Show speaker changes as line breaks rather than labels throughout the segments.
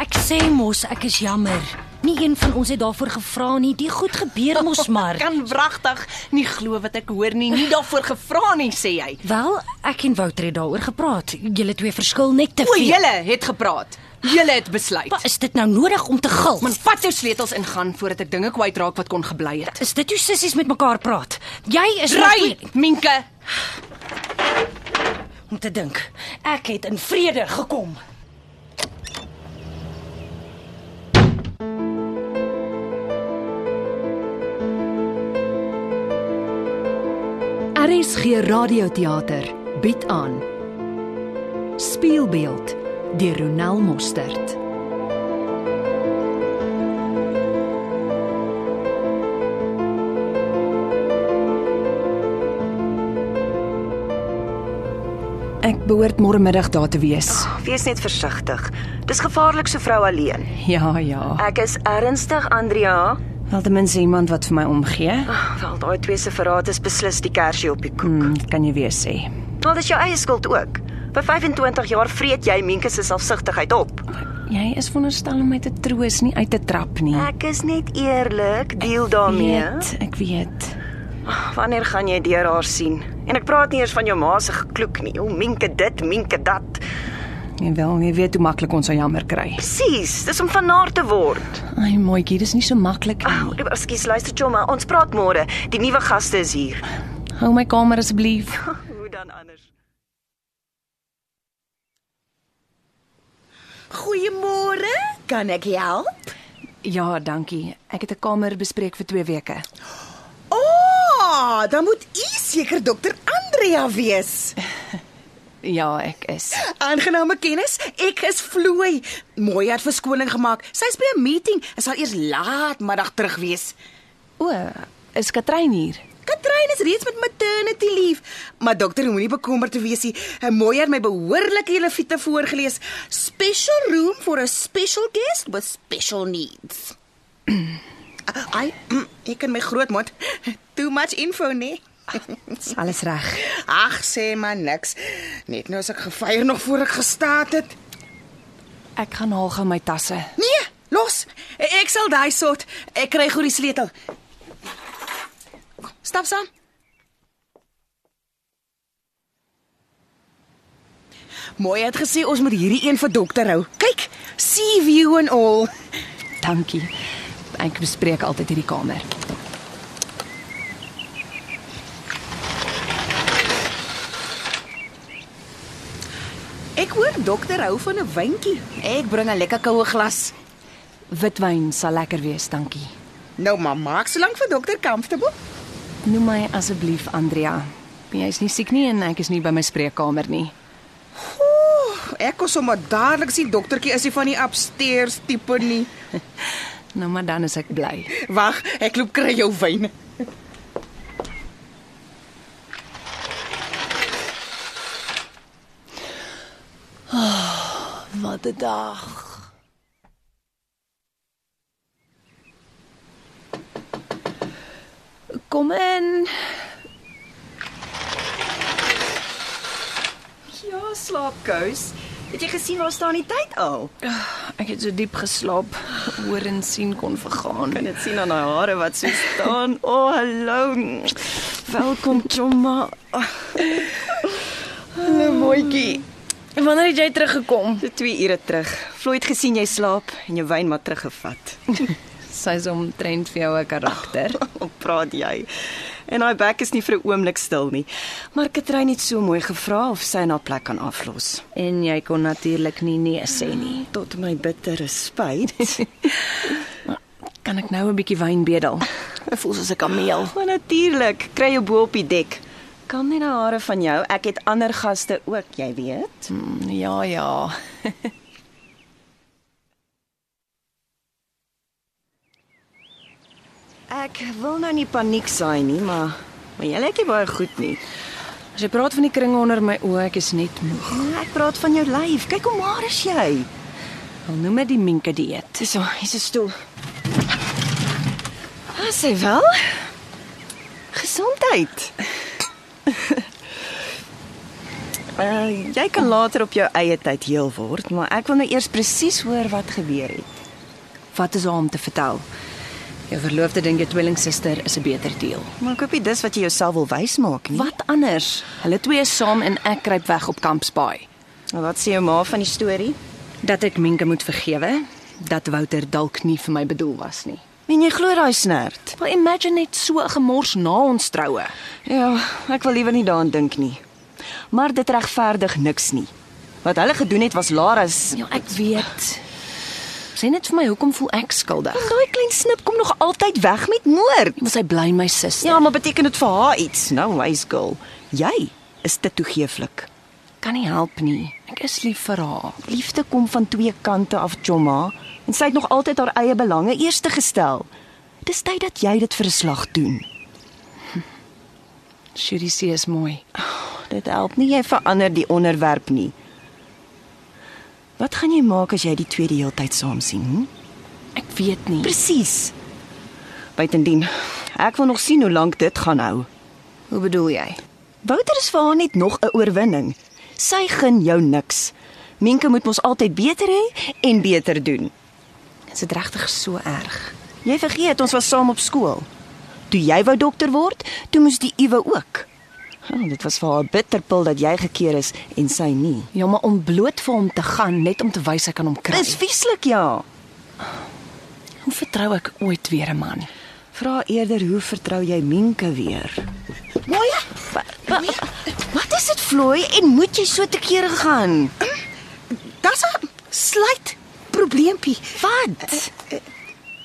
Ek sê mos ek is jammer. Nie een van ons het daarvoor gevra nie. Die goed gebeur mos maar.
Ek kan wragtig nie glo wat ek hoor nie. Nie daarvoor gevra nie, sê jy.
Wel, ek en Wouter het daaroor gepraat. Julle twee verskil net te
O,
veel.
julle het gepraat. Julle het besluit.
Maar is dit nou nodig om te gil?
Man, vat jou sleutels ingaan voordat ek dinge kwytraak wat kon gebly het.
Is dit hoe sissies met mekaar praat? Jy is
Ry, Minke.
om te dink. Ek het in vrede gekom.
RSG Radioteater bied aan Speelbeeld deur Ronel Mostert.
Ek behoort môre middag daar te wees.
Wees net versigtig. Dis gevaarlik so vrou alleen.
Ja, ja.
Ek is ernstig, Andrea.
Wel ten minste iemand wat vir my omgee.
Ag, wel daai twee se verraad is beslis die kersie op die koek.
Hmm, kan jy weer sê.
Wel, dis jou eie skuld ook. By 25 jaar vreet jy Mientjie se selfsugtigheid op.
Jy is veronderstel om my te troos, nie uit te trap nie.
Ek is net eerlik, deel daarmee.
Weet, ek weet.
Wanneer gaan jy deur haar sien? En ek praat nie eers van jou ma se gekloek nie. O, Mientjie dit, Mientjie dat.
En wel, jy weet hoe maklik ons haar jammer kry.
Presies, dis om van haar te word.
Ai, mooietjie, dis nie so maklik
Ou,
nie.
ekskuus, luister Choma, ons praat môre. Die nuwe gaste is hier.
Hou my kamer asseblief.
Hoe dan anders?
Goeiemôre, kan ek help?
Ja, dankie. Ek het 'n kamer bespreek vir 2 weke.
O, oh, dan moet u seker dokter Andrea wees.
Ja, ek is.
Aangename kennis, ek is Vloei. Mooi het verskoning gemaak. Sy's by 'n meeting en sal eers laat middag terug wees.
O, is Katrein hier?
Katrein is reeds met maternity leave, maar dokter moenie bekommerd wees nie. Mooi het my behoorlik julle fitte voorgeles. Special room for a special guest with special needs. Ai, mm, ek kan my groot mond. Too much info, nee.
Is alles reg?
Ag, sê maar niks. Net nou as ek gevier nog voor ek gestaat het.
Ek gaan haal gou my tasse.
Nee, los. Ek sal daai soort. Ek kry gou die sleutel. Kom, Stap saam. Mooi het gesê ons moet hierdie een vir dokter hou. Kyk, CV en al.
Dankie. Ek bespreek altyd hierdie kamer.
Ek hoor dokter hou van 'n wynkie. Ek bring 'n lekker koue glas.
Witwyn sal lekker wees, dankie.
Nou maar maak solank vir dokter comfortable.
Noem my asseblief Andrea. Jy's nie siek nie en ek is nie by my spreekkamer nie.
Ooh, ek kon sommer dadelik sien doktertjie is nie van die upstairs tipe nie.
Nou maar dan is ek bly.
Wag, ek loop kry jou wyn.
Wat 'n dag. Kom in.
Ja, slaapkous. Het jy gesien waar staan die tyd al?
Ek het so diep geslaap, hoor en sien kon vergaan.
Kan dit sien aan haar hare wat so staan. O, oh, hallo.
Welkom Choma. Hallo mooietjie. Wanneer het jy teruggekom?
So 2 ure terug. Floyd gesien jy slaap en jou wyn maar teruggevat.
Sy's omtrent vir jou 'n karakter.
Op praat jy. En haar bek is nie vir 'n oomblik stil nie. Maar Katrein het so mooi gevra of sy aan haar plek kan aflos.
En jy kon natuurlik nie nee sê nie.
Tot my bittere spyt.
Kan ek nou 'n bietjie wyn bedel? Ek voel soos 'n kameel.
maar natuurlik, kry jou bo op die dek. Kom net na hare van jou. Ek het ander gaste ook, jy weet.
Mm, Ja, ja.
Ek wil nou nie paniek saai nie, maar maar jy lyk nie baie goed nie.
As jy praat van die kringe onder my oë, ek is net moeg.
Ja, Ek praat van jou lyf. Kyk hoe maar is jy.
Al noem dit die minke dieet.
Hierso, hier's 'n stoel. Ah, sê wel. Gesondheid. Uh, jy kan later op jou eie tyd heel word, maar ek wil nou eers presies hoor wat gebeur het.
Wat is daar om te vertel? Jou verloofde dink jou tweelingsuster is 'n beter deel.
Maar ek hoop nie dis wat jy jouself wil wys maak nie.
Wat anders? Hulle twee is saam en ek kruip weg op Kampsbaai.
Nou, Wat sê jou ma van die storie?
Dat ek Minke moet vergewe, dat Wouter dalk nie vir my bedoel was nie.
Men jy glo daai snert?
Maar imagine net so 'n gemors na ons troue.
Ja, ek wil liewer nie daaraan dink nie. Maar dit regverdig niks nie. Wat hulle gedoen het was Lara's
Ja, ek weet. Sê net vir my hoekom voel ek skuldig?
Daai klein snip kom nog altyd weg met moord.
Want sy bly my suster.
Ja, maar beteken dit vir haar iets? No wise girl. Jy is te toegeeflik.
kan nie help nie. Ek is lief vir haar.
Liefde kom van twee kante af, Choma, en sy het nog altyd haar eie belange eerste gestel. Dis tyd dat jy dit vir 'n slag doen. Hm.
Shuri se is mooi.
Oh, Dit help nie jy verander die onderwerp nie. Wat gaan jy maak as jy die twee die hele tyd saam sien? Hm?
Ek weet nie.
Presies. Buitendien, ek wil nog sien hoe lank dit gaan hou.
Hoe bedoel jy?
Wouter is vir haar net nog 'n oorwinning. Sy gun jou niks. Menke moet mos altyd beter hê en beter doen.
Is dit regtig so erg?
Jy vergeet ons was saam op skool. Toe jy wou dokter word, toe moes die Iwe ook. Oh, dit was vir haar 'n bitterpil dat jy gekeer is en sy nie.
Ja, maar om bloot vir hom te gaan net om te wys ek kan hom kry.
Dis vieslik ja.
Hoe vertrou ek ooit weer 'n man?
Vra eerder hoe vertrou jy Menke weer?
Mooi.
Wat is dit vloei en moet jy so te kere gaan?
Dis 'n slight probleempie. Eh,
Wat?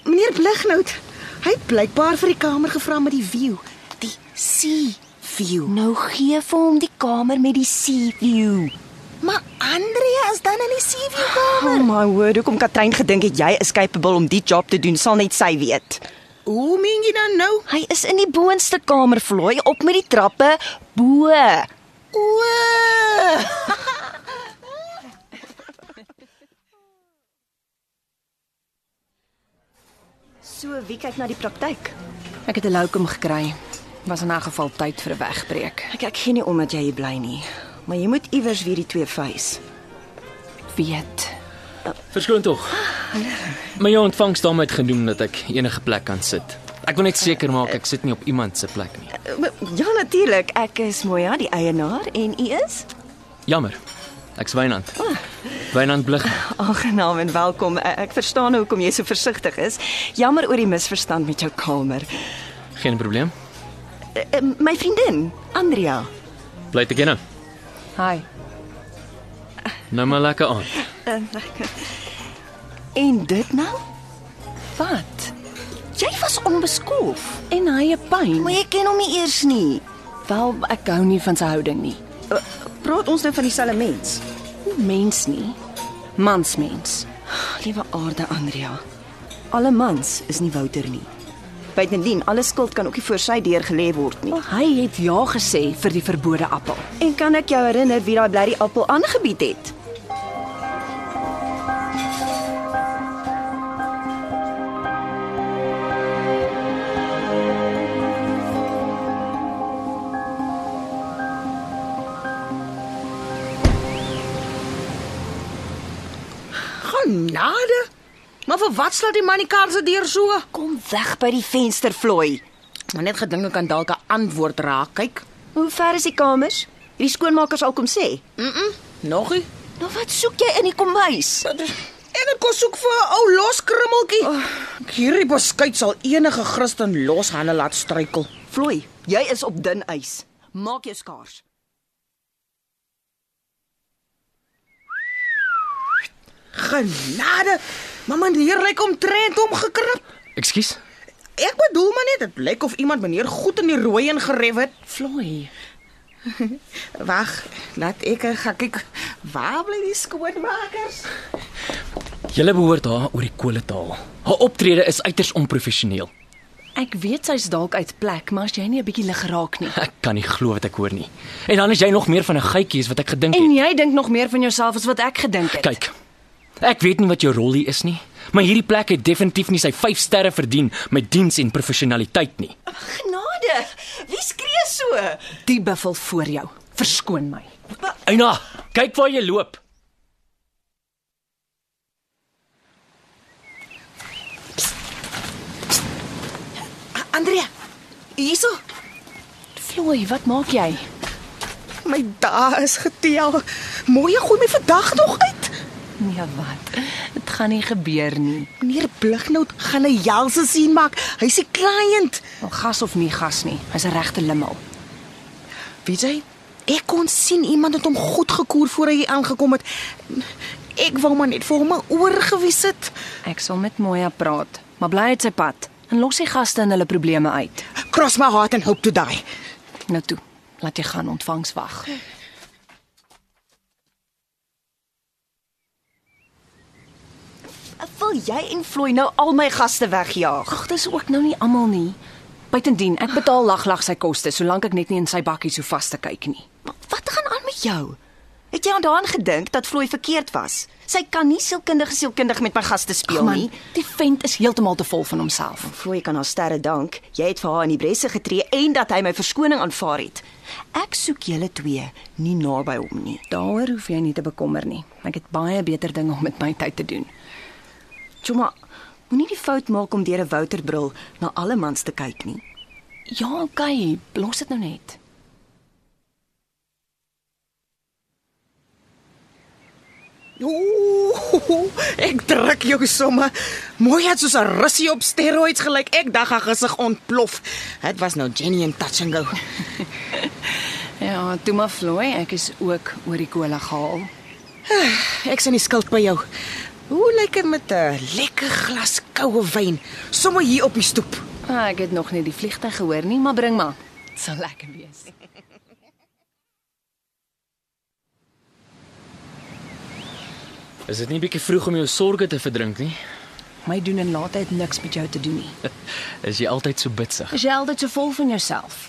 Meneer Blighnout, hy het blykbaar vir die kamer gevra met die view, die sea view.
Nou gee vir hom die kamer met die sea view.
Maar Andrea is dan in die sea view kamer.
Oh my word, hoekom Katrein gedink het jy is capable om die job te doen, sal net sy weet.
Hoe meen jy dan nou?
Hy is in die boonste kamer vloei op met die trappe bo.
O!
So wie kyk na die praktyk?
Ek het 'n loukom gekry. Was in 'n geval tyd vir 'n wegbreek.
Ek ek gee nie om dat jy hier bly nie, maar jy moet iewers weer die twee face.
Ek weet.
Verskoon tog. Maar jou ontvangs daarmee het genoem dat ek enige plek kan sit. Ek wil net seker maak ek sit nie op iemand se plek nie.
Ja natuurlik, ek is Moya, die eienaar en u is
Jammer. Ek's Wynand. Wynand Blig.
aangenaam en welkom. Ek ek verstaan hoekom jy so versigtig is. Jammer oor die misverstand met jou kamer.
Geen probleem.
Eh, eh, My vriendin, Andrea.
Bly te ken.
Hi.
Nou maar lekker aan.
Eh, En dit nou?
Wat?
Jy was onbeskoof.
En hy het pyn.
jy ken hom nie eers nie.
Wel, ek hou nie van sy houding nie.
Eh,
Praat ons nou van dieselfde mens.
Nie Mens nie. Mansmens.
Liewe aarde Andrea. Alle mans is nie Wouter nie. Buitendien, alle skuld kan ook nie voor sy deur gelê word nie.
Hy het ja gesê vir die verbode appel.
En kan ek jou herinner wie daai blerrie appel aangebied het?
Genade. Maar vir wat slaat die man die kar se deur so?
Kom weg by die venster, Floy.
Maar net gedink ek kan dalk 'n antwoord raak. Kyk.
Hoe ver is die kamers? Hierdie skoonmakers al kom sê.
Nogie.
Nou wat soek jy in die kombuis?
En ek kos soek vir 'n ou loskrummeltjie. Oh. Hierdie beskuit sal enige Christen loshande laat struikel.
Floy, jy is op dun ys. Maak jou skaars.
Genade. Maar meneer lyk omtrent omgekrap.
Ekskuus.
Ek bedoel maar net dit lyk of iemand meneer goed in die rooi en geref het.
Floy.
Wag, laat ek eh, gaan kyk. Waar bly die skoonmakers?
Julle behoort haar oor die kole te haal. Haar optrede is uiters onprofessioneel.
Ek weet sy's dalk uit plek, maar as jy nie 'n bietjie lig raak nie.
Ek kan nie glo wat ek hoor nie. En dan is jy nog meer van 'n geitjie as wat ek gedink
En
het.
jy dink nog meer van jouself as wat ek gedink het.
Kyk. Ek weet nie wat jou rol hier is nie, maar hierdie plek het definitief nie sy 5 sterre verdien met diens en professionaliteit nie.
Genade. Wie skree so?
die buffel voor jou. Verskoon my.
Eina, kyk waar jy loop.
Andrea, hierso.
Floy, wat maak jy?
My dae is getel. Mooi, gooi my vandag nog uit.
Nee, wat? Dit gaan nie gebeur nie.
Meneer Blighnout gaan 'n jelse sien maak. Hy's 'n kliënt.
Al gas of nie gas nie. Hy's 'n regte limmel.
Weet jy? Ek kon sien iemand het hom goed gekoer voor hy hier aangekom het. Ek wou maar net vir hom 'n oor gewys het.
Ek sal met Moya praat, maar bly uit sy pad en los die gaste en hulle probleme uit.
Cross my heart and hope to die.
Nou toe, laat jy gaan ontvangs wag.
Wil jy en Floy nou al my gaste wegjaag?
Ag, dis ook nou nie almal nie. Buitendien, ek betaal laglag sy koste solank ek net nie in sy bakkie so vas te kyk nie.
Wat gaan aan met jou? Het jy aan daaraan gedink dat Floy verkeerd was? Sy kan nie sielkundig sielkundig met my gaste speel nie.
die vent is heeltemal te vol van homself.
Floy kan haar sterre dank. Jy het vir haar in die bresse getree en dat hy my verskoning aanvaar het. Ek soek julle twee, nie naby hom nie.
Daaroor hoef jy nie te bekommer nie. Ek het baie beter dinge om met my tyd te doen.
Tjoma, moenie die fout maak om deur 'n Wouterbril na alle mans te kyk nie.
Ja, okay, los dit nou net.
Ooh, ek druk jou somme. Mooi het soos 'n russie op steroids gelyk. Ek dag haar gesig ontplof. Dit was nou Jenny en touch and go.
Ja, toe maar vloei, ek is ook oor die kolle gehaal.
Ek sien die skuld by jou. Hoe lyk dit met 'n lekker glas koue wyn sommer hier op die stoep?
Ah, ek het nog nie die vliegtyg gehoor nie, maar bring maar. Dit sal lekker wees.
Is dit nie bietjie vroeg om jou sorges te verdrink nie?
My doen en laat het niks met jou te doen nie.
Is jy altyd so bitsig?
Is jy altyd so vol van jouself?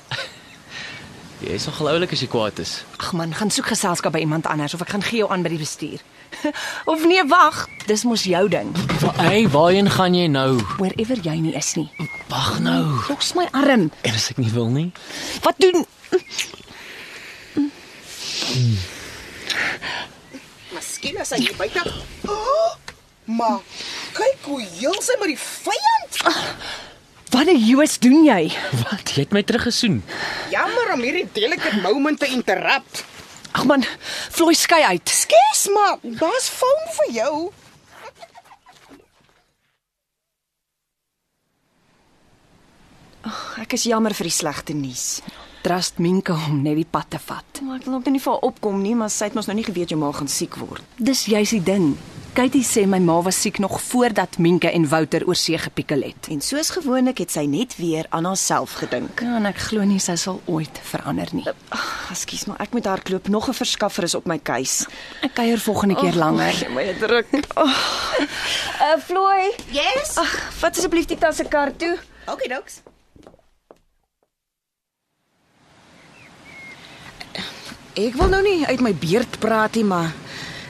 Jy is nogal oulik as jy kwaad is.
Ag man, gaan soek geselskap by iemand anders of ek gaan gee jou aan by die bestuur. of nee, wag, dis mos jou ding.
Hey, waarheen gaan jy nou?
Wherever jy nie is nie.
Wag nou.
Los my arm.
En as ek nie wil nie?
Wat doen?
Miskien as hy hier buite. Oh, maar kyk hoe heel sy met die vyand.
Wat 'n Joos doen jy?
Wat? Jy het my teruggesoen.
Jammer om hierdie delicate moment te interrupt.
Ag man, vloei skei uit.
Skus maar, daar's foon vir jou.
Ek is jammer vir die slegte nuus.
Trust Minke om net die pad te vat.
Maar ek wil ook nou nie vir haar opkom nie, maar sy het mos nou nie geweet jou ma gaan siek word.
Dis juis die ding. Katie sê my ma was siek nog voordat Minke en Wouter oorsee gepikkel het.
En soos gewoonlik het sy net weer aan haarself gedink.
Ja, en ek glo nie sy sal ooit verander nie.
Ag, ekskuus, maar ek moet hardloop. Nog 'n verskaffer is op my keus.
Ek kuier volgende keer langer.
Gee my 'n druk. Uh, Floy,
Yes.
ag, vat asseblief die tasse kar toe.
Okay, doks. Ek wil nou nie uit my beerd praat nie, maar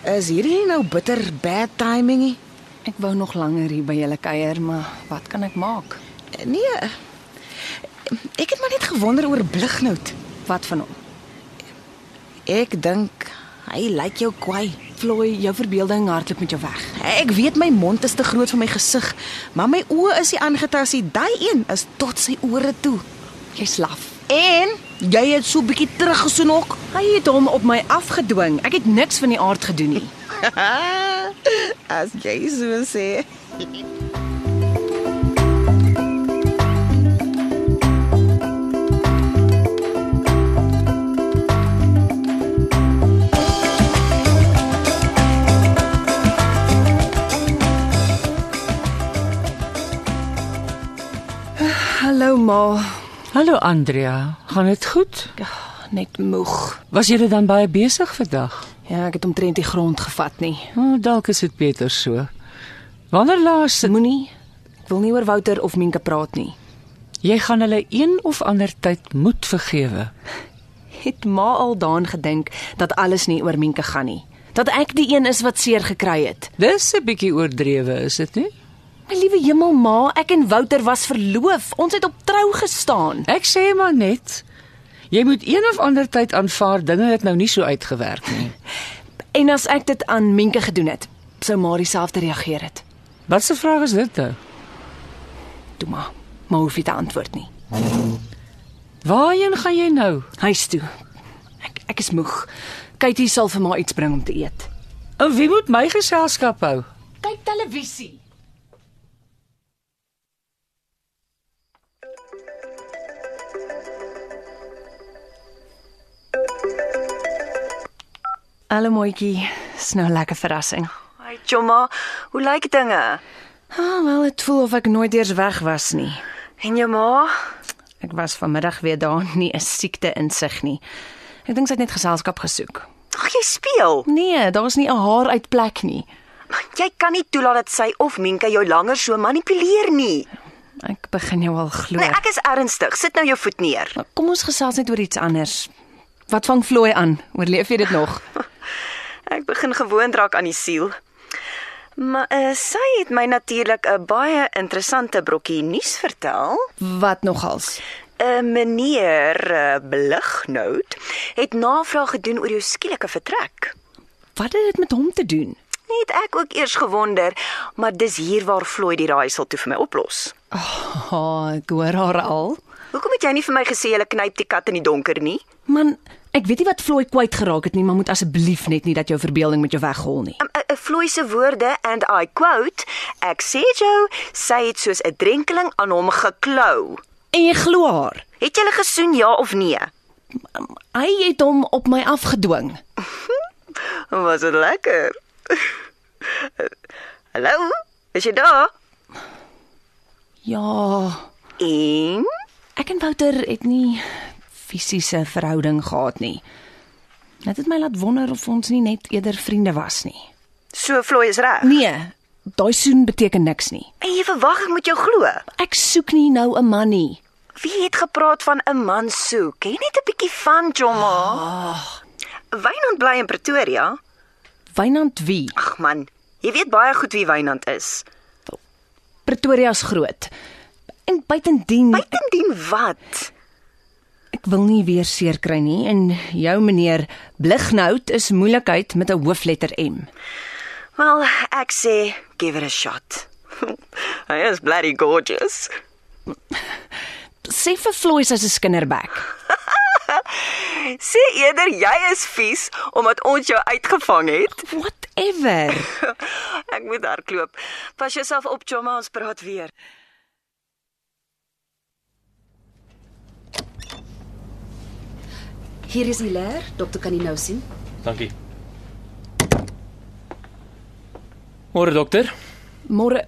is hierdie nie nou bitter bad timing nie?
Ek wou nog langer hier by julle kuier, maar wat kan ek maak?
Nee. Ek het maar net gewonder oor Blighnout.
Wat van hom?
Ek dink hy lyk jou kwaai.
Floy, jou verbeelding hardloop met jou weg.
Ek weet my mond is te groot vir my gesig, maar my oë is nie aangetast nie. Daai een is tot sy ore toe.
Jy's laf.
En jy het so 'n bietjie teruggesoen ook.
Hy het hom op my afgedwing. Ek het niks van die aard gedoen nie.
As jy so sê.
Hallo ma, Ja,
Hallo Andrea, gaan dit goed?
net moeg.
Was jy dan baie besig vandag?
Ja, ek het omtrent die grond gevat nie.
Oh, dalk is dit beter so. Wanneer laas
Moenie. Ek wil nie oor Wouter of Minke praat nie.
jy gaan hulle een of ander tyd moet vergewe.
Het ma al daaraan gedink dat alles nie oor Minke gaan nie. Dat ek die een is wat seer gekry het.
Dis 'n bietjie oordrewe, is dit nie?
My liewe hemel ma, ek en Wouter was verloof. Ons het op trou gestaan.
Ek sê maar net Jy moet een of ander tyd aanvaar dinge het nou nie so uitgewerk nie.
En as ek dit aan Minke gedoen het, sou maar dieselfde reageer het.
Wat 'n vraag is dit nou?
Toe maar, maar hoef jy te antwoord nie.
Waarheen gaan jy nou?
Huis toe. Ek ek is moeg. Katie sal vir my iets bring om te eet.
En wie moet my geselskap hou?
Kyk televisie. Hallo mooietjie, is nou 'n lekker verrassing.
Hi Choma, hoe lyk dinge?
Ah, oh, wel, dit voel of ek nooit eers weg was nie.
En jou ma?
Ek was vanmiddag weer daar, nie 'n siekte insig nie. Ek dink sy het net geselskap gesoek.
Ag jy speel.
Nee, daar is nie 'n haar uit plek nie.
Jy kan nie toelaat dat sy of Minka jou langer so manipuleer nie.
Ek begin jou al glo.
Nee, ek is ernstig. Sit nou jou voet neer.
Maar Kom ons gesels net oor iets anders. Wat vang Floy aan? Oorleef jy dit nog?
Ek begin gewoond raak aan die siel. Maar uh, sy het my natuurlik 'n baie interessante brokkie nuus vertel.
Wat nogals?
'n Meneer uh, Blighnout het navraag gedoen oor jou skielike vertrek.
Wat het dit met hom te doen?
Net ek ook eers gewonder, maar dis hier waar Floyd die raaisel toe vir my oplos.
Ha, ek hoor haar al.
Hoekom het jy nie vir my gesê jy knyp die kat in die donker nie?
Man, ek weet nie wat Floy kwyt geraak het nie, maar moet asseblief net nie dat jou verbeelding met jou weghol nie.
Um, uh, uh, Floy se woorde and I quote, ek sê jou, sy het soos 'n drenkeling aan hom geklou.
En jy glo haar.
Het jy hulle gesoen ja of nee?
Hy het hom op my afgedwing.
Was dit lekker? Hallo, is jy daar?
Ja,
En
ek en Wouter het nie fisiese verhouding gehad nie. Dit het my laat wonder of ons nie net eerder vriende was nie.
so Floy is reg.
Nee, daai soen beteken niks nie.
En jy verwag ek moet jou glo.
Ek soek nie nou 'n man nie.
Wie het gepraat van 'n man soek? Ken net 'n bietjie van Jomma. Wynand bly in Pretoria.
Wynand wie?
Ag man, jy weet baie goed wie Wynand is.
Pretoria's groot. En buitendien,
Buitendien wat?
ek wil nie weer seer kry nie en jou meneer Blighnout is moeilikheid met 'n hoofletter M.
Wel, ek sê give it a shot. Hy is bloody gorgeous.
Sê vir Floy sy's 'n skinderbek.
Sê eerder jy is vies omdat ons jou uitgevang het.
Whatever.
ek moet hardloop. Pas jouself op, Jomma, ons praat weer.
Hier is Hilaire, dokter kan nie nou sien.
Dankie. Môre dokter?
Môre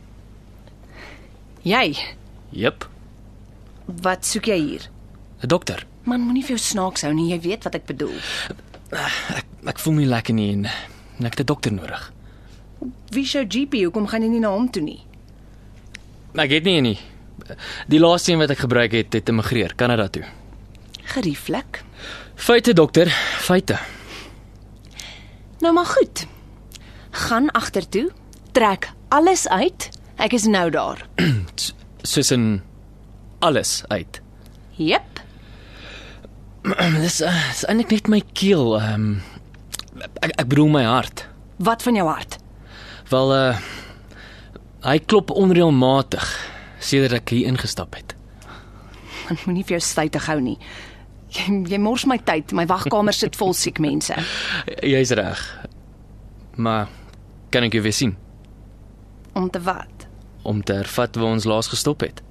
Jy,
Jep.
wat soek jy hier?
'n Dokter.
Man, moenie vir jou snaaks hou nie, jy weet wat ek bedoel.
Ek voel nie lekker nie en en ek het 'n dokter nodig.
Wie sou GP, hoekom gaan jy nie na hom toe nie?
Nou, Ek het nie een nie. Die laaste een wat ek gebruik het, het emigreer Kanada toe.
Gerieflik.
Feite dokter, feite.
Nou maar goed. Gaan agtertoe, trek alles uit. Ek is nou daar.
S- Soos in alles uit.
Jep.
Dis uh, is eintlik net my keel. Ehm um, ek ek bedoel my hart.
Wat van jou hart?
Wel uh hy klop onreëlmatig sedert ek hier ingestap het.
Man moenie vir jou stytig hou nie. Jy, jy mors my tyd. My wagkamer sit vol siek mense.
Jy's reg. Maar kan ek jou weer sien
Om te wat?
om te hervat waar ons laas gestop het?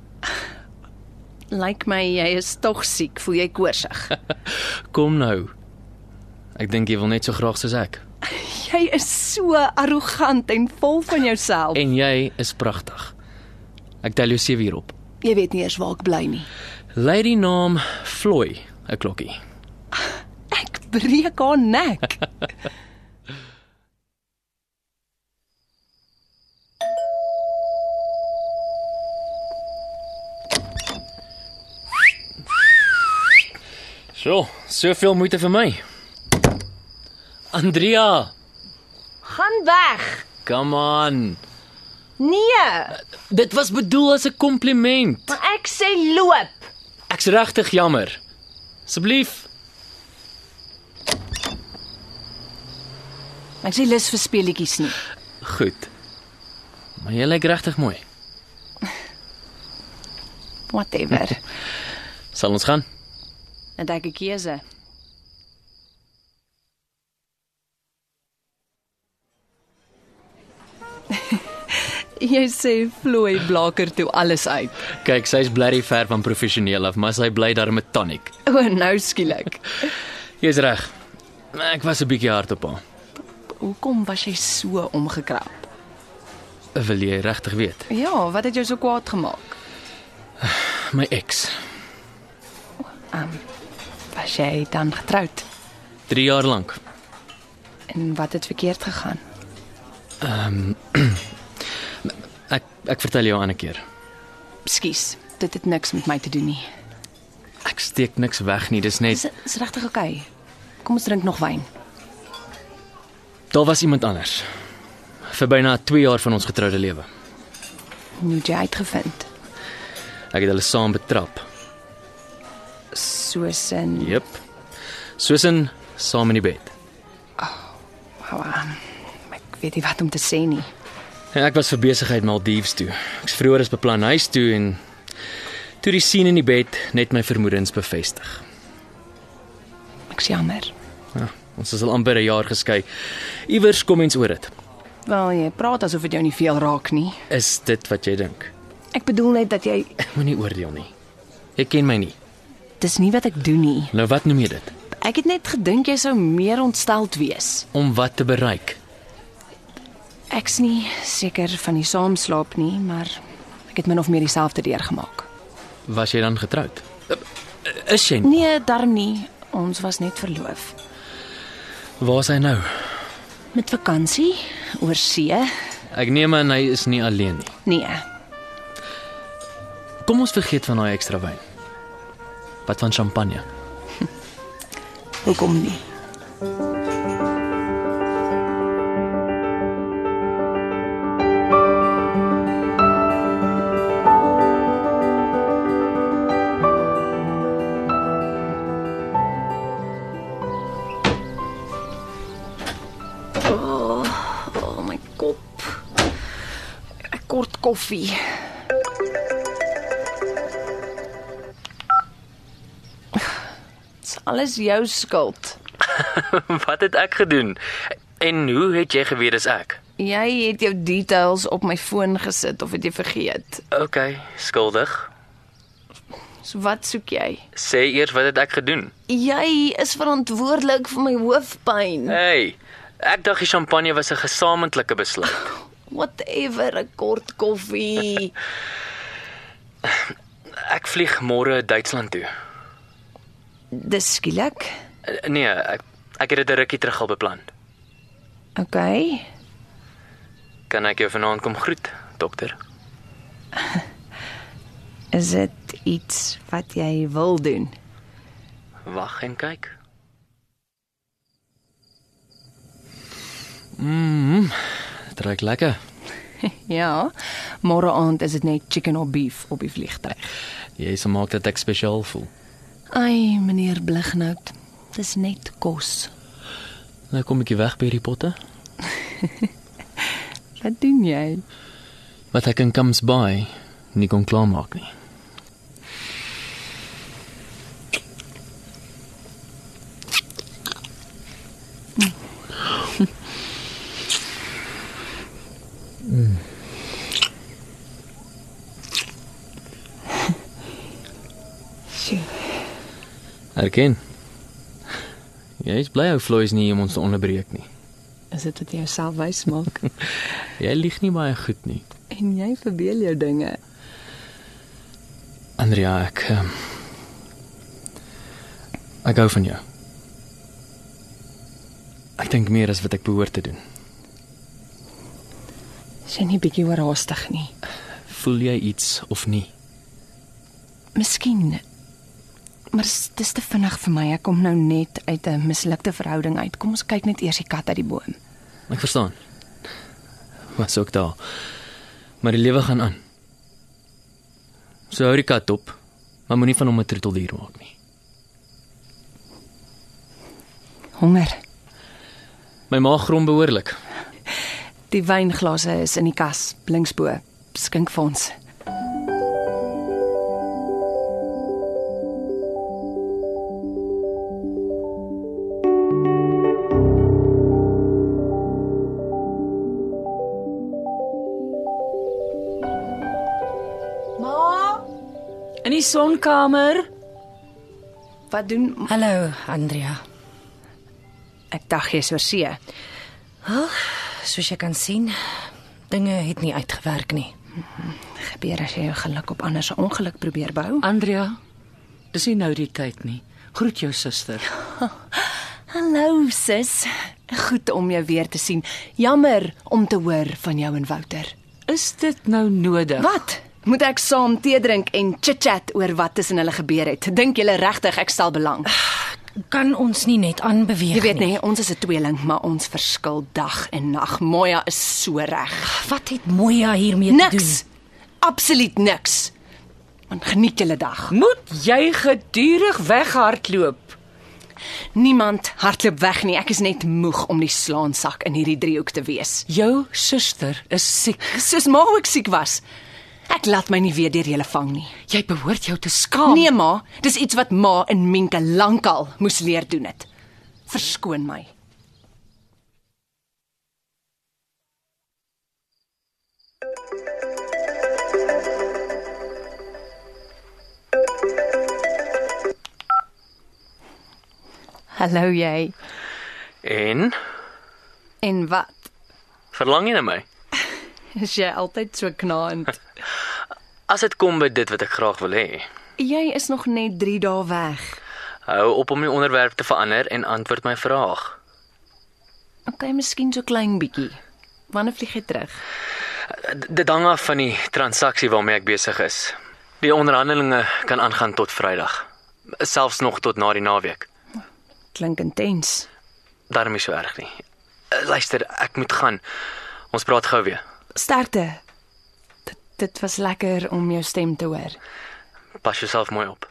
Lyk my jy is tog siek. Voel jy koorsig?
Kom nou. Ek dink jy wil net so graag soos ek.
Jy is so arrogant en vol van jouself.
En jy is pragtig. Ek tel jou sewe hier op.
Jy weet nie eers waar ek bly nie.
Lei die naam Floy 'n klokkie.
Ek breek haar nek.
So, soveel moeite vir my. Andrea,
Gaan weg.
come on.
Nee,
Dit was bedoel as 'n kompliment.
ek sê loop.
Ek's regtig jammer. Asseblief.
Ek sê lus vir speletjies nie.
Goed. Maar jy lyk regtig mooi.
Whatever.
Sal ons gaan?
Net ek 'n keuse. Jy sê vloei blaker toe alles uit.
Kyk, sy's blerry ver van professioneel af, maar sy bly daar met tonic.
O, nou skielik.
Jy's reg. Ek was 'n bietjie hard op haar.
Hoekom was jy so omgekrap?
Wil jy regtig weet?
Ja, wat het jou so kwaad gemaak?
My ex,
Was jy dan getroud?
3 jaar lank.
En wat het verkeerd gegaan?
Ek ek vertel jou 'n ander keer.
Skus, dit het niks met my te doen nie.
Ek steek niks weg nie, dis net
Is is regtig oukei? Okay? Kom ons drink nog wyn.
daar was iemand anders. Vir byna 2 jaar van ons getroude lewe.
Hoe het jy uitgevind?
Ek het hulle saam betrap.
Soos in
Jep. Soos in saam in die bed.
Wow, um, ek weet nie wat om te sê nie.
En ek was vir besigheid Maldives toe. Ek's vroeër as beplan huis toe en toe die sien in die bed net my vermoedens bevestig.
Ek is jammer.
Ja, ons is al amper 'n jaar geskei. Iewers kom mens oor dit.
Wel, jy praat asof dit jou nie veel raak nie.
Is dit wat jy dink?
Ek bedoel net dat jy
Ek moenie oordeel nie. Jy ken my nie.
dis nie wat ek doen nie.
Nou wat noem jy dit?
Ek het net gedink jy sou meer ontsteld wees.
Om wat te bereik?
Ek's nie seker van die saamslaap nie, maar ek het min of meer dieselfde deurgemaak.
Was jy dan getroud? Is jy? nie?
Nee, darm nie. Ons was net verloof.
Waar is hy nou?
Met vakansie oor see?
Ek neem aan hy is nie alleen nie.
Nee.
Kom ons vergeet van daai ekstra wyn. Wat van champagne?
Hoekom nie? Oh, oh my kop. Ek kort koffie. Dis alles jou skuld.
wat het ek gedoen? En hoe het jy geweet dis ek?
Jy het jou details op my foon gesit of het jy vergeet?
OK, skuldig.
So wat soek jy?
Sê eers wat het ek gedoen?
Jy is verantwoordelik vir my hoofpyn.
Hey, ek dink die champagne was 'n gesamentlike besluit.
Whatever, 'n kort koffie.
Ek vlieg môre Duitsland toe.
Dis skielik.
Eh, Nee, ek ek het dit 'n rukkie terug al beplan.
OK.
Kan ek jou vanaand kom groet, dokter?
Is dit iets wat jy wil doen?
Wag en kyk. Mm, dit ruik Mm-hmm. lekker.
Ja. Môre aand is dit net chicken or beef op die vliegtyg.
Jy sal maak dat ek spesiaal voel.
Ai, meneer Blighnout, dis net kos.
Nou kom ek hier weg by hierdie potte.
Wat doen jy?
Wat ek in Comes Bay nie kon klaarmaak nie.
Sjoe.
Erken. Jy's bly ou Floys nie om ons te onderbreek nie.
Is dit wat jy jouself wys maak?
Jy lieg nie baie goed nie.
en jy verbeel jou dinge.
Andrea, ek um, ek hou van jou. Ek dink meer as wat ek behoort te doen.
Is jy nie bietjie oorhaastig nie?
Voel jy iets of nie?
Miskien. Maar dis- dis te vinnig vir my. Ek kom nou net uit 'n mislukte verhouding uit. Kom ons kyk net eers die kat uit die boom.
Ek verstaan. Was ook daar. Maar die lewe gaan aan. So hou die kat op, maar moenie van hom 'n troeteldier maak nie.
Honger.
My maag grom behoorlik.
Die wynglase is in die kas linksbo. Skink vir ons. In die sonkamer. Wat doen
Hallo, Andrea.
ek dag jy's oor see?
Soos jy kan sien, dinge het nie uitgewerk nie.
Gebeur as jy jou geluk op ander se ongeluk probeer bou?
Andrea, dis nie nou die tyd nie. Groet jou suster.
Hallo sis. Goed om jou weer te sien. Jammer om te hoor van jou en Wouter.
Is dit nou nodig?
Wat? Moet ek saam tee drink en chitchat oor wat tussen hulle gebeur het? Dink julle regtig ek stel belang?
Kan ons nie net aanbeweeg
Jy weet nie, ons is 'n tweeling, maar ons verskil dag en nag. Moya is so reg.
Wat het Moya hiermee te doen?
Niks. Absoluut niks. Want geniet julle dag.
Moet jy gedurig weghardloop?
Niemand hardloop weg nie. Ek is net moeg om die slaansak in hierdie driehoek te wees.
Jou suster is siek.
Soos ma ook siek was. Ek laat my nie weer deur julle vang nie.
Jy behoort jou te skaam.
Nee ma, dis iets wat ma in Menke lankal moes leer doen het. Verskoon my. Hallo jy.
En
En wat?
verlang jy na my?
Is jy altyd so knaand?
As dit kom by dit wat ek graag wil hê,
Jy is nog net 3 dae weg.
hou op om die onderwerp te verander en antwoord my vraag.
Okay, miskien so klein bietjie. Wanneer vlieg jy terug?
D dit hang af van die transaksie waarmee ek besig is. Die onderhandelinge kan aangaan tot Vrydag, selfs nog tot na die naweek.
Klink intens.
Daarom is so erg nie. Eh, Luister, ek moet gaan. Ons praat gou weer.
Sterkte. Dit dit was lekker om jou stem te hoor.
Pas jouself mooi op.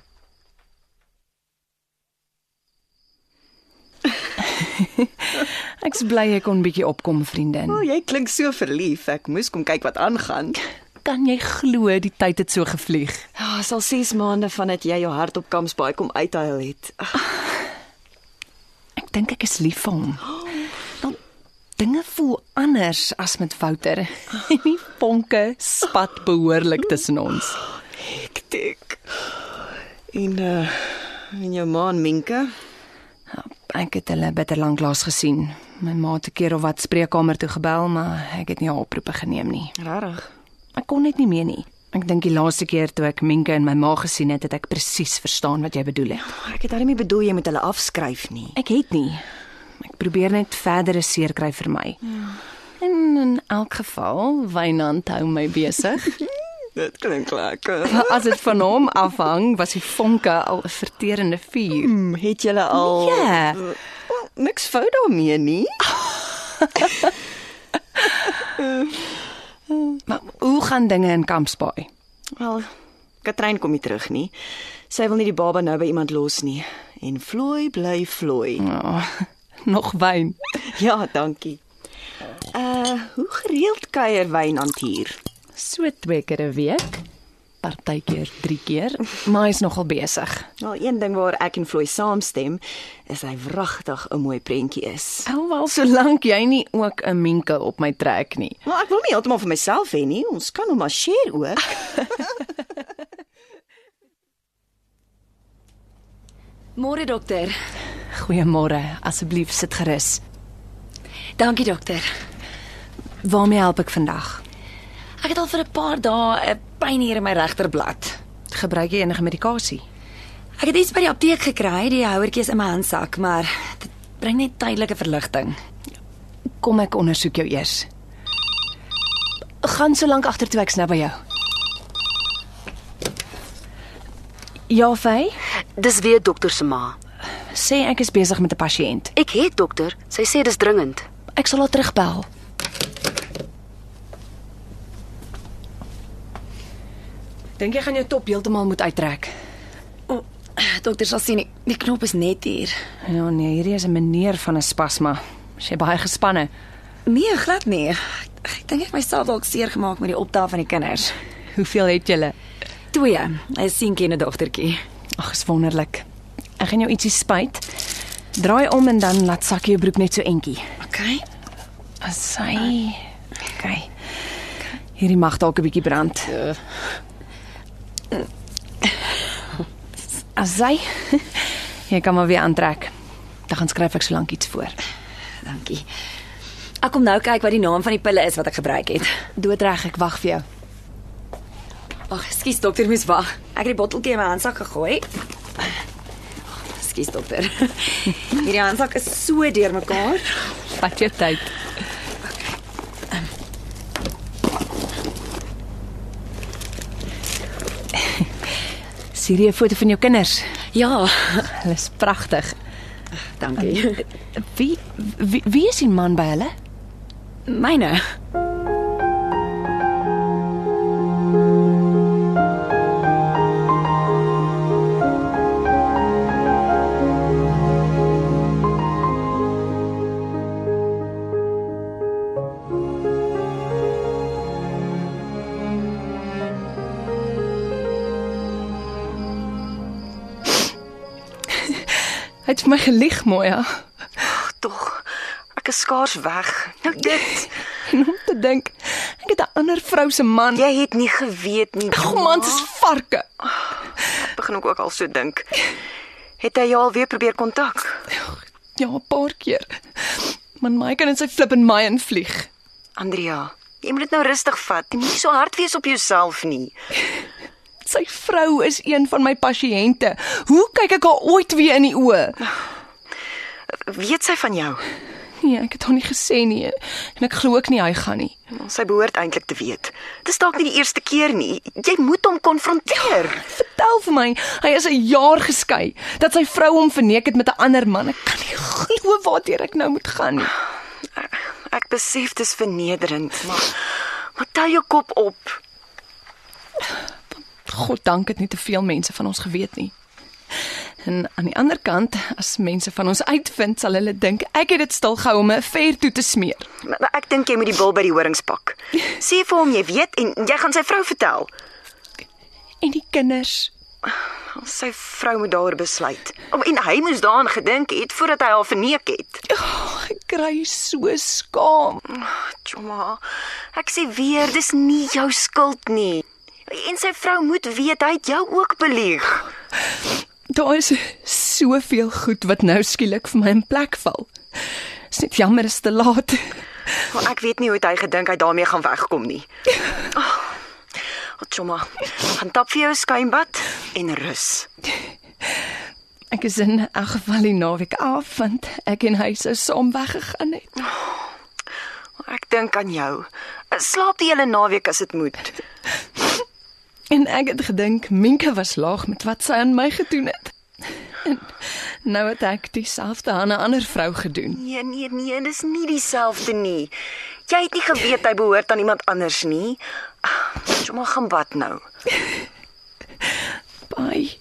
Ek's bly ek kon bietjie opkom, vriendin.
O, jy klink so verlief. Ek moes kom kyk wat aangaan.
Kan jy glo die tyd het so gevlieg?
Ja, is al 6 maande vandat jy jou hart op Kampsbaai kom uithuil het. Ag,
Ek dink ek is lief vir hom. Dan dinge voel anders as met Wouter. En die vonke spat behoorlik tussen ons.
Ek tik. En uh en jou ma en Minke?
Ek het hulle bitter lank laas gesien. My ma het 'n keer of wat spreekkamer toe gebel, maar ek het nie haar oproepe geneem nie.
Regtig?
Ek kon net nie meer nie. Ek dink die laaste keer toe ek Menke en my ma gesien het, het ek presies verstaan wat jy bedoel het.
Ek het daarmee bedoel jy moet hulle afskryf nie.
Ek het nie. Ek probeer net verdere seer kry vir my. En in elk geval, Wynand hou my besig.
Dit klink lekker.
Maar As dit van hom afhang, was die vonke al 'n verterende vuur.
Hmm, het julle al
Ja.
Wel, niks fout daarmee nie.
Maar hoe gaan dinge in Kampsbaai?
Wel, Katrein kom nie terug nie. Sy wil nie die baba nou by iemand los nie. En Floy bly Floy.
Oh, nog wyn.
Ja, dankie. Uh, hoe gereeld kuier Wynand hier?
So twee keer 'n week, partykeer 3 keer, maar hy's nogal besig.
Wel, een ding waar ek en Floy saamstem, is hy wragtig 'n mooi prentjie is.
Alhoewel solank jy nie ook 'n minke op my trek nie.
Maar ek wil nie heeltemal vir myself hê nie. Ons kan hom maar share ook.
Môre dokter.
Goeiemôre, asseblief sit gerus.
Dankie dokter.
Waarmee help ek vandag?
Ek het al vir 'n paar dae 'n pyn hier in my regterblad.
Gebruik jy enige medikasie?
Ek het iets by die apteek gekry, die houertjie is in my handsak, maar dit bring net tydelike verligting.
Kom ek ondersoek jou eers. Gaan so lank agtertoe ek's nou by jou. Ja, Fay,
Dis weer dokter se ma.
sê ek is besig met 'n pasiënt.
Ek het dokter, sy sê dis dringend.
Ek sal haar terugbel. Dink jy gaan jou top heeltemal moet uittrek?
Dokter sal sien, die, die knop is net hier.
Ja nee, hierdie is 'n meneer van 'n spasma. Sy baie gespanne.
Nee, glad nie. Ek dink ek myself dalk seer gemaak met die optel van die kinders.
Hoeveel het julle?
Twee, 'n seentjie en 'n dogtertjie.
Ag, is wonderlik. Ek gaan jou ietsie spyt. Draai om en dan laat sak jou broek net so entjie.
OK.
Sy. Okay. Hierdie mag dalk 'n bietjie brand.
Eh.
Asai. Jy kan maar weer aantrek. Dan gaan skryf ek so lank iets voor.
Dankie. Ek kom nou kyk wat die naam van die pille is wat ek gebruik het.
Doodreg, ek wag vir jou.
Ag, ekskuus dokter, mens wag. Ek het die botteltjie in my handsak gegooi. Ekskuus dokter. Hierdie handsak is so deurmekaar.
Vat jou tyd. Sien jy 'n foto van jou kinders?
Ja,
Hulle is pragtig.
dankie.
Wie, wie wie is die man by hulle?
Myne.
Hy het vir my gelieg, ja. Moya.
Tog. Ek is skaars weg. Nou dit.
En om te dink, ek het 'n ander vrou se man.
Jy het nie geweet nie.
Kom man, dis varke.
begin ek ook al so dink. Het hy jou al weer probeer kontak?
Ja, 'n paar keer. Man, my kan in sy flip en my invlieg.
Andrea, jy moet dit nou rustig vat. Jy moenie so hard wees op jouself nie.
Sy vrou is een van my pasiënte. Hoe kyk ek haar ooit weer in die oë?
Weet sy van jou?
Nee, ek het haar nie gesê nie en ek glo ook nie hy gaan nie.
Sy behoort eintlik te weet. Dis dalk nie die eerste keer nie. Jy moet hom konfronteer.
Vertel vir my, hy is 'n jaar geskei, dat sy vrou hom verneek het met 'n ander man. Ek kan nie glo waartoe ek nou moet gaan nie.
Ek besef dis vernederend, maar maar tel jou kop op.
God dank het nie te veel mense van ons geweet nie. En aan die ander kant, as mense van ons uitvind, sal hulle dink ek het dit stil gehou om 'n affair toe te smeer.
Maar- maar Ek dink jy moet die bil by die horings pak. Sê vir hom jy weet en jy gaan sy vrou vertel.
En die kinders,
Sy vrou moet daaroor besluit. O, En hy moes daaraan gedink het voordat hy haar verneek het.
oh, ek kry so skaam.
Tjoma, ek sê weer, dis nie jou skuld nie. En sy vrou moet weet hy het jou ook belieg.
Daar is soveel goed wat nou skielik vir my in plek val. Dis net jammer is te laat.
Maar ek weet nie hoe het hy gedink hy daarmee gaan wegkom nie. Oh, Tjoma, gaan tap vir jou 'n skuimbad en rus.
Ek is in elk geval die naweek af want ek en hy sou saam weggegaan het.
Ek dink aan jou. Slaap die hele naweek as dit moet.
En ek het gedink Minke was laag met wat sy aan my gedoen het. En nou het ek dieselfde aan 'n ander vrou gedoen.
Nee, nee, nee, dis nie dieselfde nie. Jy het nie geweet hy behoort aan iemand anders nie. Kom maar gaan bad nou.
Bye.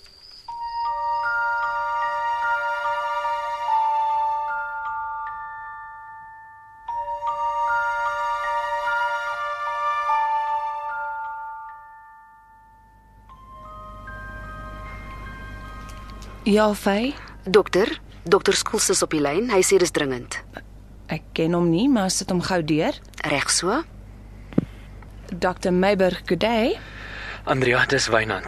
Ja, Faye.
Dokter, dokter Skoels is op die lyn. Hy sê dis dringend.
Ek ken hom nie, maar sit hom gou deur.
Reg so?
Dr. Meiburg, goeie.
Andrea, dis Wynand.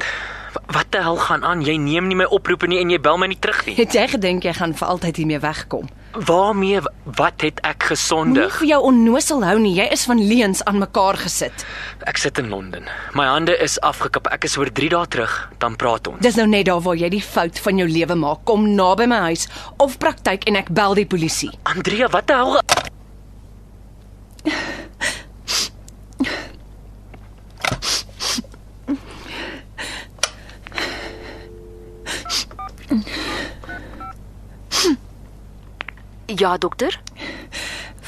Wa- Wat die hel gaan aan? Jy neem nie my oproepe nie en jy bel my nie terug nie.
Het jy gedink jy gaan vir altyd hiermee wegkom?
Waarmee w- wat het ek
Moenie
gesondig?
vir jou onnosel hou nie. Jy is van leens aan mekaar gesit.
Ek sit in Londen. My hande is afgekap. Ek is oor 3 dae terug, dan praat ons.
Dis nou net daar waar jy die fout van jou lewe maak. Kom naby my huis of praktyk en ek bel die polisie.
Andrea, wat die hel?
Ja, dokter.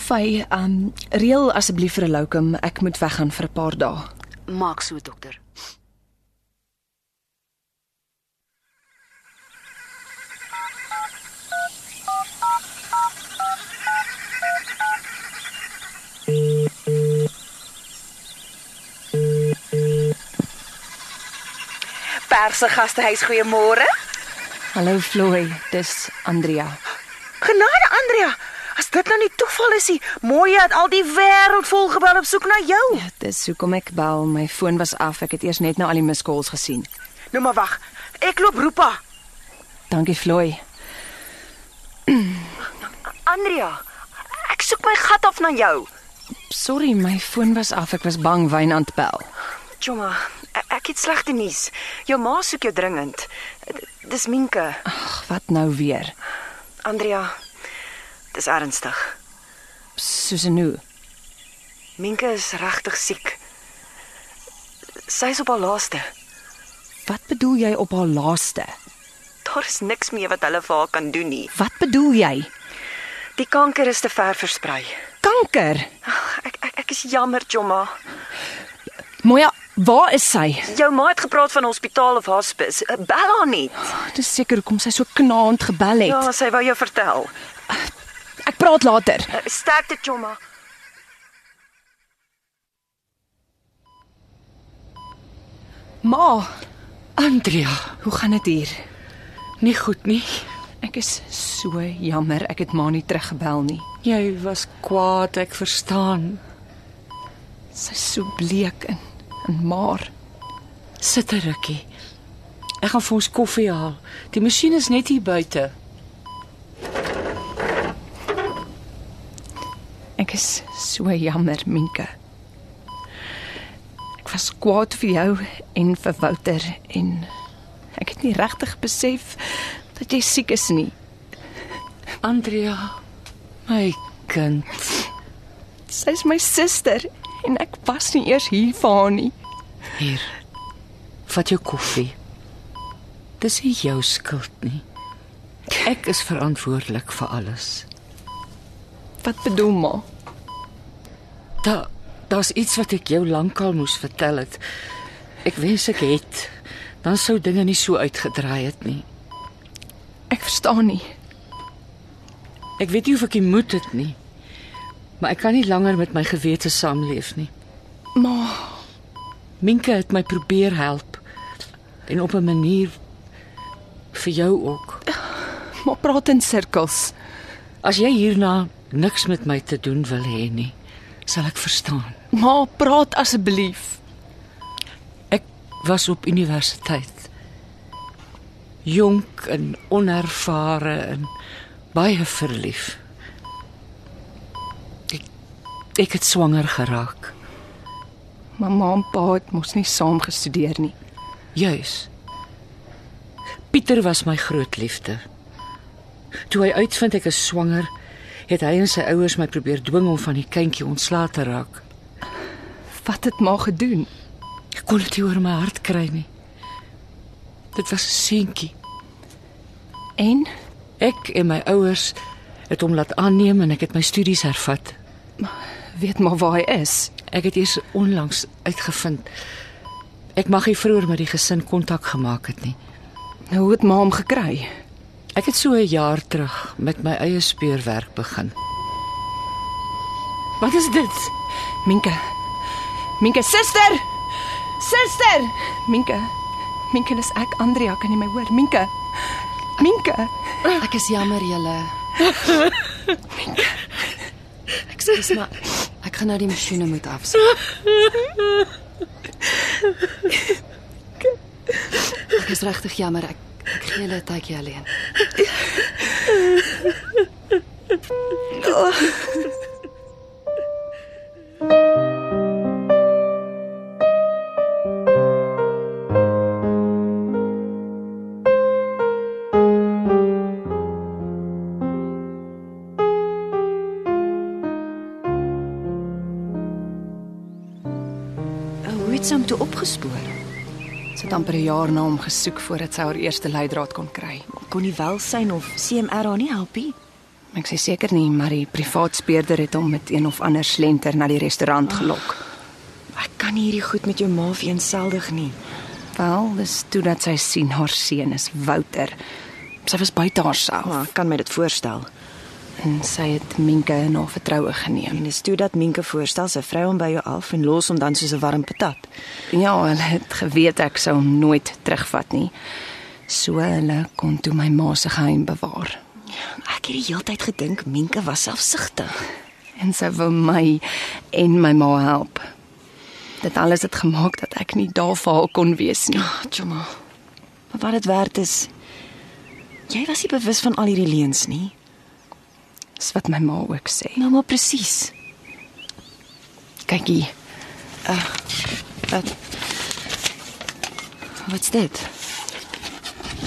Vy, um, reël asseblief vir 'n loukom. Ek moet weggaan vir 'n paar dae.
Maak so, dokter.
Berg se gastehuis. Goeiemôre.
Hallo Floy, dis Andrea.
Genade Andrea. As dit nou nie toeval is nie, mooi het al die wêreld vol gebel op soek na jou.
Dis hoekom ek bel. My foon was af. Ek het eers net na al die miscalls gesien.
Nou maar wag. Ek loop Roepa.
Dankie Floy.
Andrea, ek soek my gat af na jou.
Sorry, my foon was af. Ek was bang Wynand bel.
Choma, e- ek het slegte nuus. Jou ma soek jou dringend. D- Dis Minke.
Ag, wat nou weer?
Andrea, dis ernstig.
Susan hoe?
Minke is regtig siek. Sy is op haar laaste.
Wat bedoel jy op haar laaste?
Daar is niks meer wat hulle vir haar kan doen nie.
Wat bedoel jy?
Die kanker is te ver versprei.
Kanker.
Ag, Ek ek ek is jammer, Choma.
Moja, ja, waar is sy?
Jou ma het gepraat van hospitaal of hospice. Eh, Bel haar net.
Dis seker hoekom sy so knaand gebel
Ja,
het.
sy wou jou vertel. Eh,
Ek praat later.
Sterkte, Choma.
Ma,
Andrea,
hoe gaan dit hier?
nie goed nie.
Ek is so jammer ek het ma nie teruggebel nie.
Jy was kwaad, ek verstaan.
Sy's so bleek en en maar.
Sit 'n rukkie. Ek gaan vir ons koffie haal. Die masjien is net hier buite.
Ek is so jammer, Minke. Ek was kwaad vir jou en vir Wouter en ek het nie regtig besef dat jy siek is nie.
Andrea, my kind.
Sy's my suster en ek was nie eers hier vir haar nie.
Hier. Vat jou koffie. Dis nie jou skuld nie. Ek is verantwoordelik vir alles.
Wat bedoel ma?
Da daar's iets wat ek jou lankal moes vertel het. Ek wens ek het. Dan sou dinge nie so uitgedraai het nie.
Ek verstaan nie.
Ek weet nie of ek die moed het nie. Maar ek kan nie langer met my gewete saamleef nie.
Ma,
Minke het my probeer help en op 'n manier vir jou ook.
ma praat in sirkels.
As jy hierna niks met my te doen wil hê nie, sal ek verstaan.
Ma, praat asseblief.
Ek was op universiteit. Jonk en onervare en baie verlief. Ek ek het swanger geraak.
Mamma en pa het mos nie saam gestudeer nie.
Juis. Pieter was my groot liefde. Toe hy uitvind ek is swanger, het hy en sy ouers my probeer dwing om van die kindjie ontslae te raak.
Wat het ma gedoen?
Ek kon dit nie oor my hart kry nie. Dit was 'n seentjie.
En
Ek en my ouers het hom laat aanneem en ek het my studies hervat.
weet maar waar hy is.
Ek het eers onlangs uitgevind ek mag nie vroeër met die gesin kontak gemaak het nie.
Nou hoe het ma hom gekry?
Ek het so 'n jaar terug met my eie speurwerk begin. Wat is dit?
Minke. Minke suster. Suster. Minke. Minke, dis ek Andrea, kan jy my hoor? Minke. Minke.
Ek is jammer julle. Ek sê maar ek gaan nou die masjiene moet afsit. Ek is regtig jammer. Ek, ek gee julle 'n tydjie alleen.
Hoe het sy hom toe opgespoor?
Sy het amper 'n jaar na hom gesoek voordat sy haar eerste leidraad kon kry.
Kon nie welsyn of CMR haar nie help nie.
Ek sê seker nie, maar die privaat speurder het hom met een of ander slenter na die restaurant gelok.
Ek kan nie hierdie goed met jou ma vereenseldig nie.
Wel, dis toe dat sy sien haar seun is Wouter. Sy was buite haarself.
Maar ek kan my dit voorstel.
en sy het Minke in haar vertroue geneem.
En dis toe dat Minke voorstel sy vrou hom by jou af en los hom dan soos 'n warm patat.
Ja, hulle het geweet ek sou hom nooit terugvat nie. So hulle kon toe my ma se geheim bewaar
Ek het die hele tyd gedink Minke was selfsugtig.
en sy wou my en my ma help. Dit alles het gemaak dat ek nie daar vir haar kon wees nie.
Tjoma. Maar wat dit werd is, jy was nie bewus van al hierdie leuns nie.
Dis wat my ma ook sê.
Nou maar presies.
Kyk hier.
Ah, Wat Wat's dit?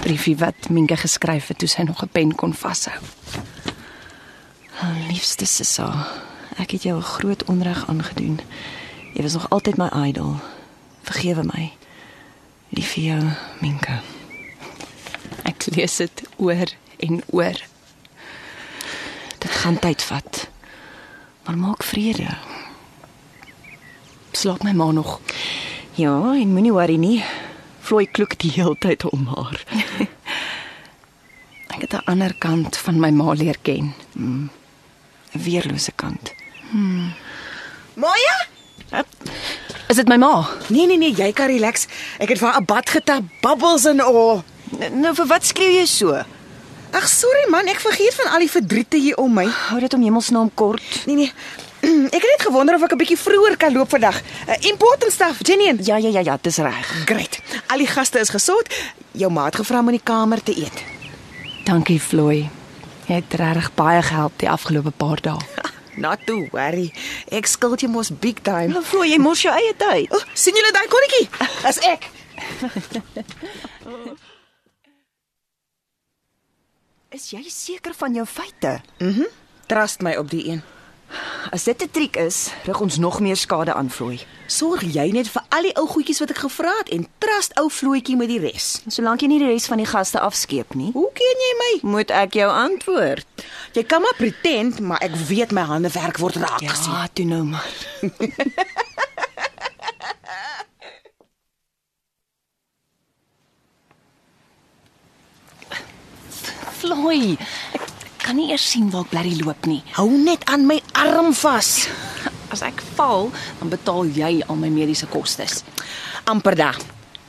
briefie wat Minke geskryf het toe sy nog 'n pen kon vashou.
Oh, liefste Sissa, ek het jou 'n groot onreg aangedoen. Jy was nog altyd my idol. Vergewe my. Lief vir jou, Minke.
Ek lees dit oor en oor.
Dit gaan tyd vat. Maar maak vrede.
Slaap my ma nog.
Ja, en moenie worry nie. Vloei kloek die heeltyd om haar.
Ek het 'n ander kant van my ma leer ken.
Mm.
'n Weerlose kant.
Moya?
Is dit my ma?
Nee nee nee, jy kan relax. Ek het vir haar 'n bad getap, bubbles en al.
N nou vir wat skreeu jy so?
Ag sorry man, ek vergeet van al die verdriete hier om my.
Hou dit om hemelsnaam kort.
Nee nee. Ek het net gewonder of ek 'n bietjie vroeër kan loop vandag. Uh, important stuff, Jenny en
Ja ja ja ja, dis reg.
Great. Al die gaste is gesort. Jou maat gevra om in die kamer te eet.
Dankie Floy. Jy het regtig baie gehelp die afgelope paar dae.
Not to worry. Ek skuld jou mos big time.
Nou vloei jy mors jou eie tyd.
O, oh, sien julle daai konnetjie? As ek.
Is jy seker van jou feite?
Trust my op die een.
As dit 'n triek is, rig ons nog meer skade aan vloei.
Sorg jy net vir al die ou goedjies wat ek gevra het en trust ou vloetjie met die res.
Solank jy nie die res van die gaste afskeep nie,
Hoe ken jy my?
moet ek jou antwoord.
Jy kan maar pretend, maar ek weet my hande werk word raak gesien.
Ja, toe nou maar.
Floy, ek kan nie eers sien waar ek bly loop nie.
Hou net aan my arm vas.
As ek val, dan betaal jy al my mediese kostes.
Amper daar.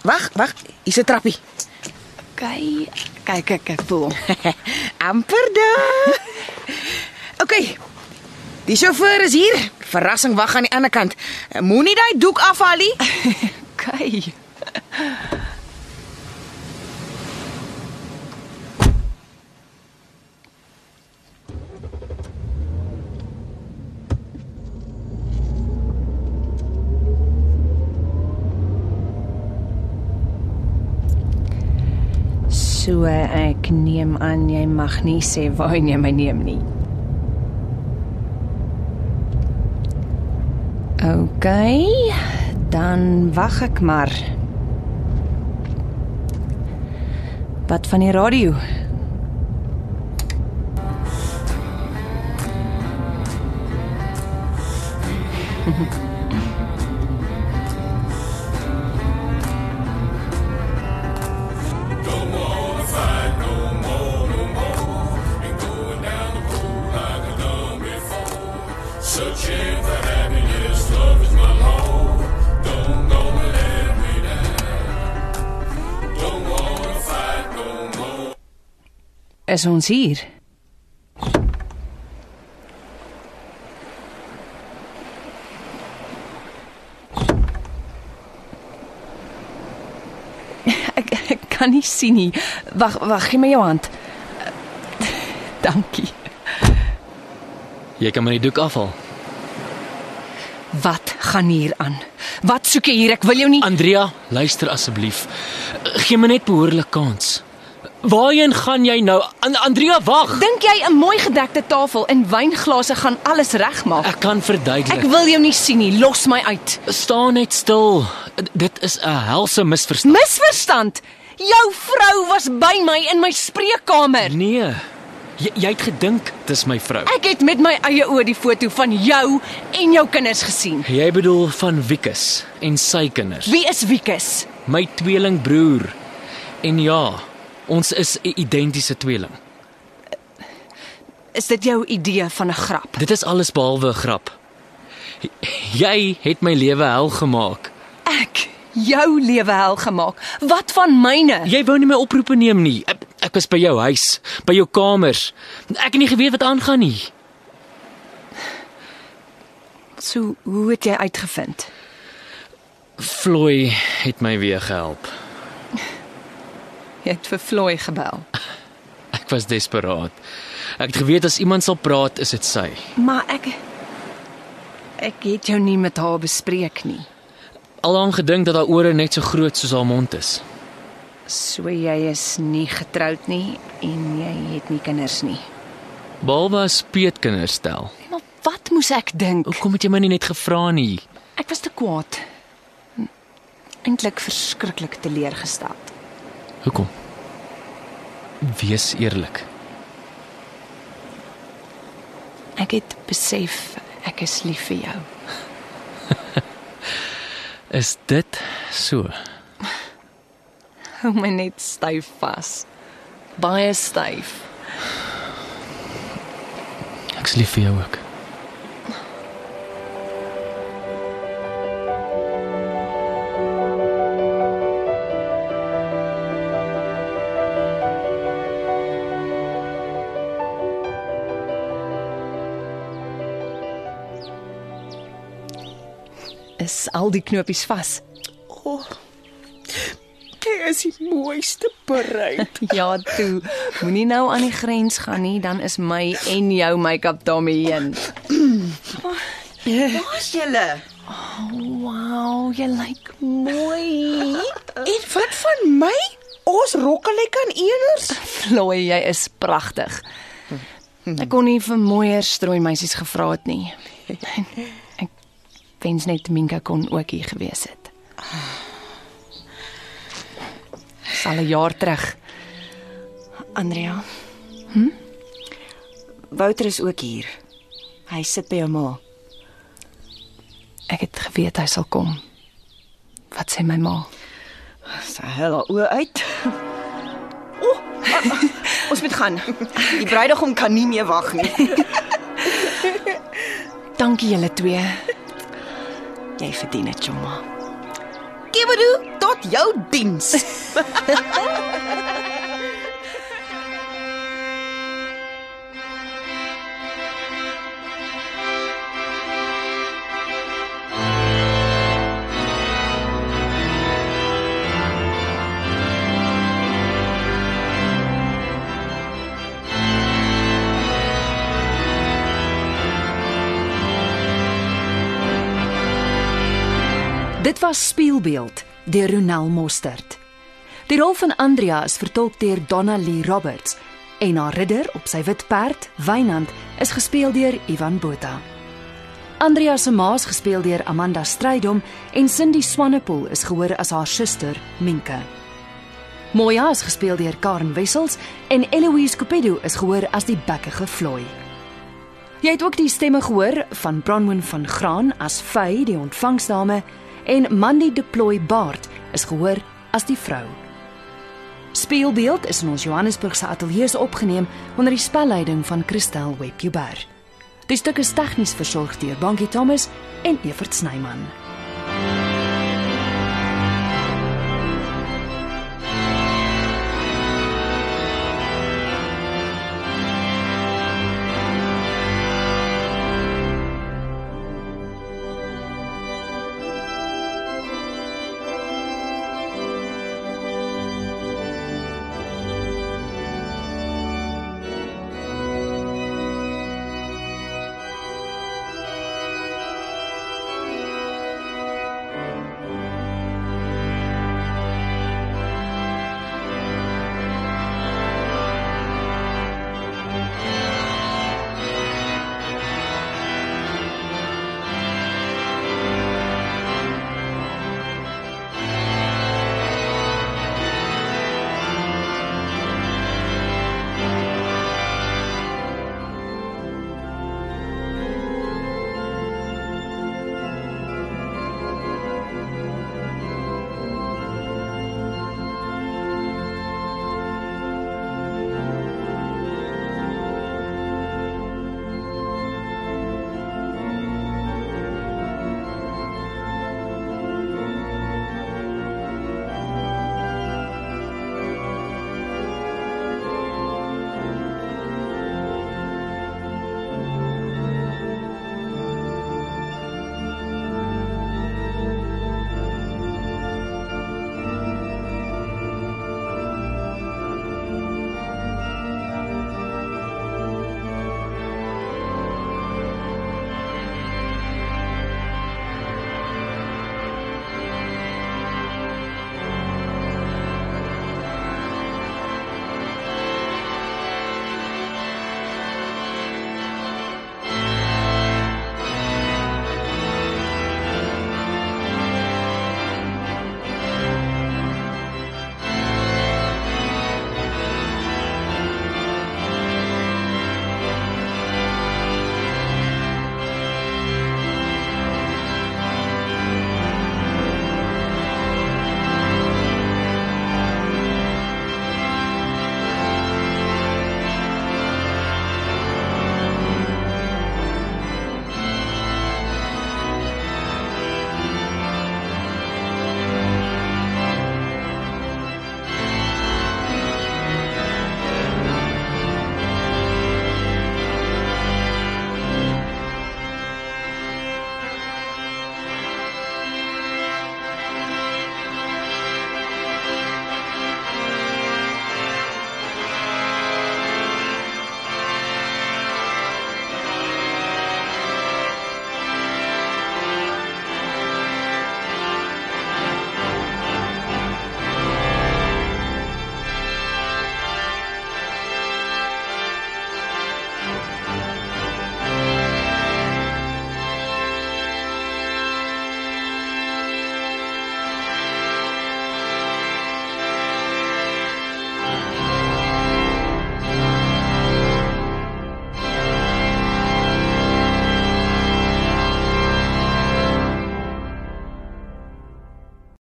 Wag, wag, hier's 'n trappie.
Kyk, kyk ek ek voel.
Amper daar. OK. Die sjofeur is hier. Verrassing wag aan die ander kant. Moenie daai doek afhaal nie.
Kyk. So ek neem aan jy mag nie sê waarheen jy my neem nie. OK, dan wag ek maar. Wat van die radio? Is ons hier? Ek, ek kan nie sien nie. Wag, wag, gee my jou hand. Dankie.
Jy kan my die doek afhaal.
Wat gaan hier aan? Wat soek jy hier? Ek wil jou nie.
Andrea, luister asseblief. Geen my net behoorlik kans. Waarheen gaan jy nou? An Andrea, wag.
Dink jy 'n mooi gedekte tafel en wynglase gaan alles regmaak?
Ek kan
Ek
verduidelik.
wil jou nie sien nie. Los my uit.
Staan net stil. D- Dit is 'n helse misverstand.
Misverstand. Jou vrou was by my in my spreekkamer.
Nee. Jy, jy het gedink dis my vrou.
Ek het met my eie oë die foto van jou en jou kinders gesien.
Jy bedoel van Wikus en sy kinders.
Wie is Wiekus?
My tweelingbroer. En ja, ons is 'n identiese tweeling.
Is dit jou idee van 'n grap?
Dit is alles behalwe 'n grap. Jy het my lewe hel gemaak.
Ek jou lewe hel gemaak. Wat van myne?
Jy wou nie my oproepe neem nie. Ek, ek was by jou huis, by jou kamers. Ek het nie geweet wat aangaan nie.
So, hoe het jy uitgevind?
Floy het my weer gehelp.
Jy het vir Floy gebel.
Ek was desperaat. Ek het geweet as iemand sal praat, is dit sy.
Maar ek ek het jou nie met haar bespreek nie.
Allang gedink dat haar ore net so groot soos haar mond is.
So jy is nie getroud nie en jy het nie kinders nie.
Behalwe as peetkinders stel.
Maar wat moes ek dink?
Hoekom het jy my nie net gevra nie?
Ek was te kwaad. Eintlik verskriklik teleurgesteld.
Hoekom? Wees eerlik.
Ek het besef ek is lief vir jou.
Is dit so?
Hou my net styf vas. Baie styf.
Ek's lief vir jou ook.
Is al die knopies vas?
Jy is die mooiste bereid.
Ja, toe. Moenie nou aan die grens gaan nie, dan is my en jou make-up daarmee heen.
Waar's julle?
Oh, Wow, jy lyk mooi.
En wat van my? Ons rokke lyk aan eers.
Floy, jy is pragtig. Ek kon nie vir mooier strooi meisies gevra het nie. Ek wens net Minka kon ook hier gewees het. Dis al 'n jaar terug.
Andrea,
Wouter is ook hier.
hy sit by jou ma.
Ek het geweet hy sal kom. Wat sê my ma?
Sy huil haar oë uit.
eh,
Ons moet gaan.
Die bruidegom kan nie meer wag nie.
Dankie julle twee.
Jy verdien dit, Choma.
Kibbedoe tot jou diens.
Dit was Spieelbeeld deur Ronel Mostert. Die rol van Andrea is vertolk deur Donna Lee Roberts en haar ridder op sy wit perd, Wynand, is gespeel deur Ivan Botha. Andrea se ma is gespeel deur Amanda Strydom en Cindy Swanepoel is gehoor as haar suster, Minke. Moya is gespeel deur Karen Wessels en Eloise Cupido is gehoor as die bekkige Floy. Jy het ook die stemme gehoor van Bronwyn van Graan as Fay, die ontvangsdame, en Mandy De Plooy Baard is gehoor as die vrou. Speelbeeld is in ons Johannesburg se ateljee se opgeneem onder die spelleiding van Christel Webjuber. Die stuk is tegnies versorg deur Bankie Thomas en Evert Snyman.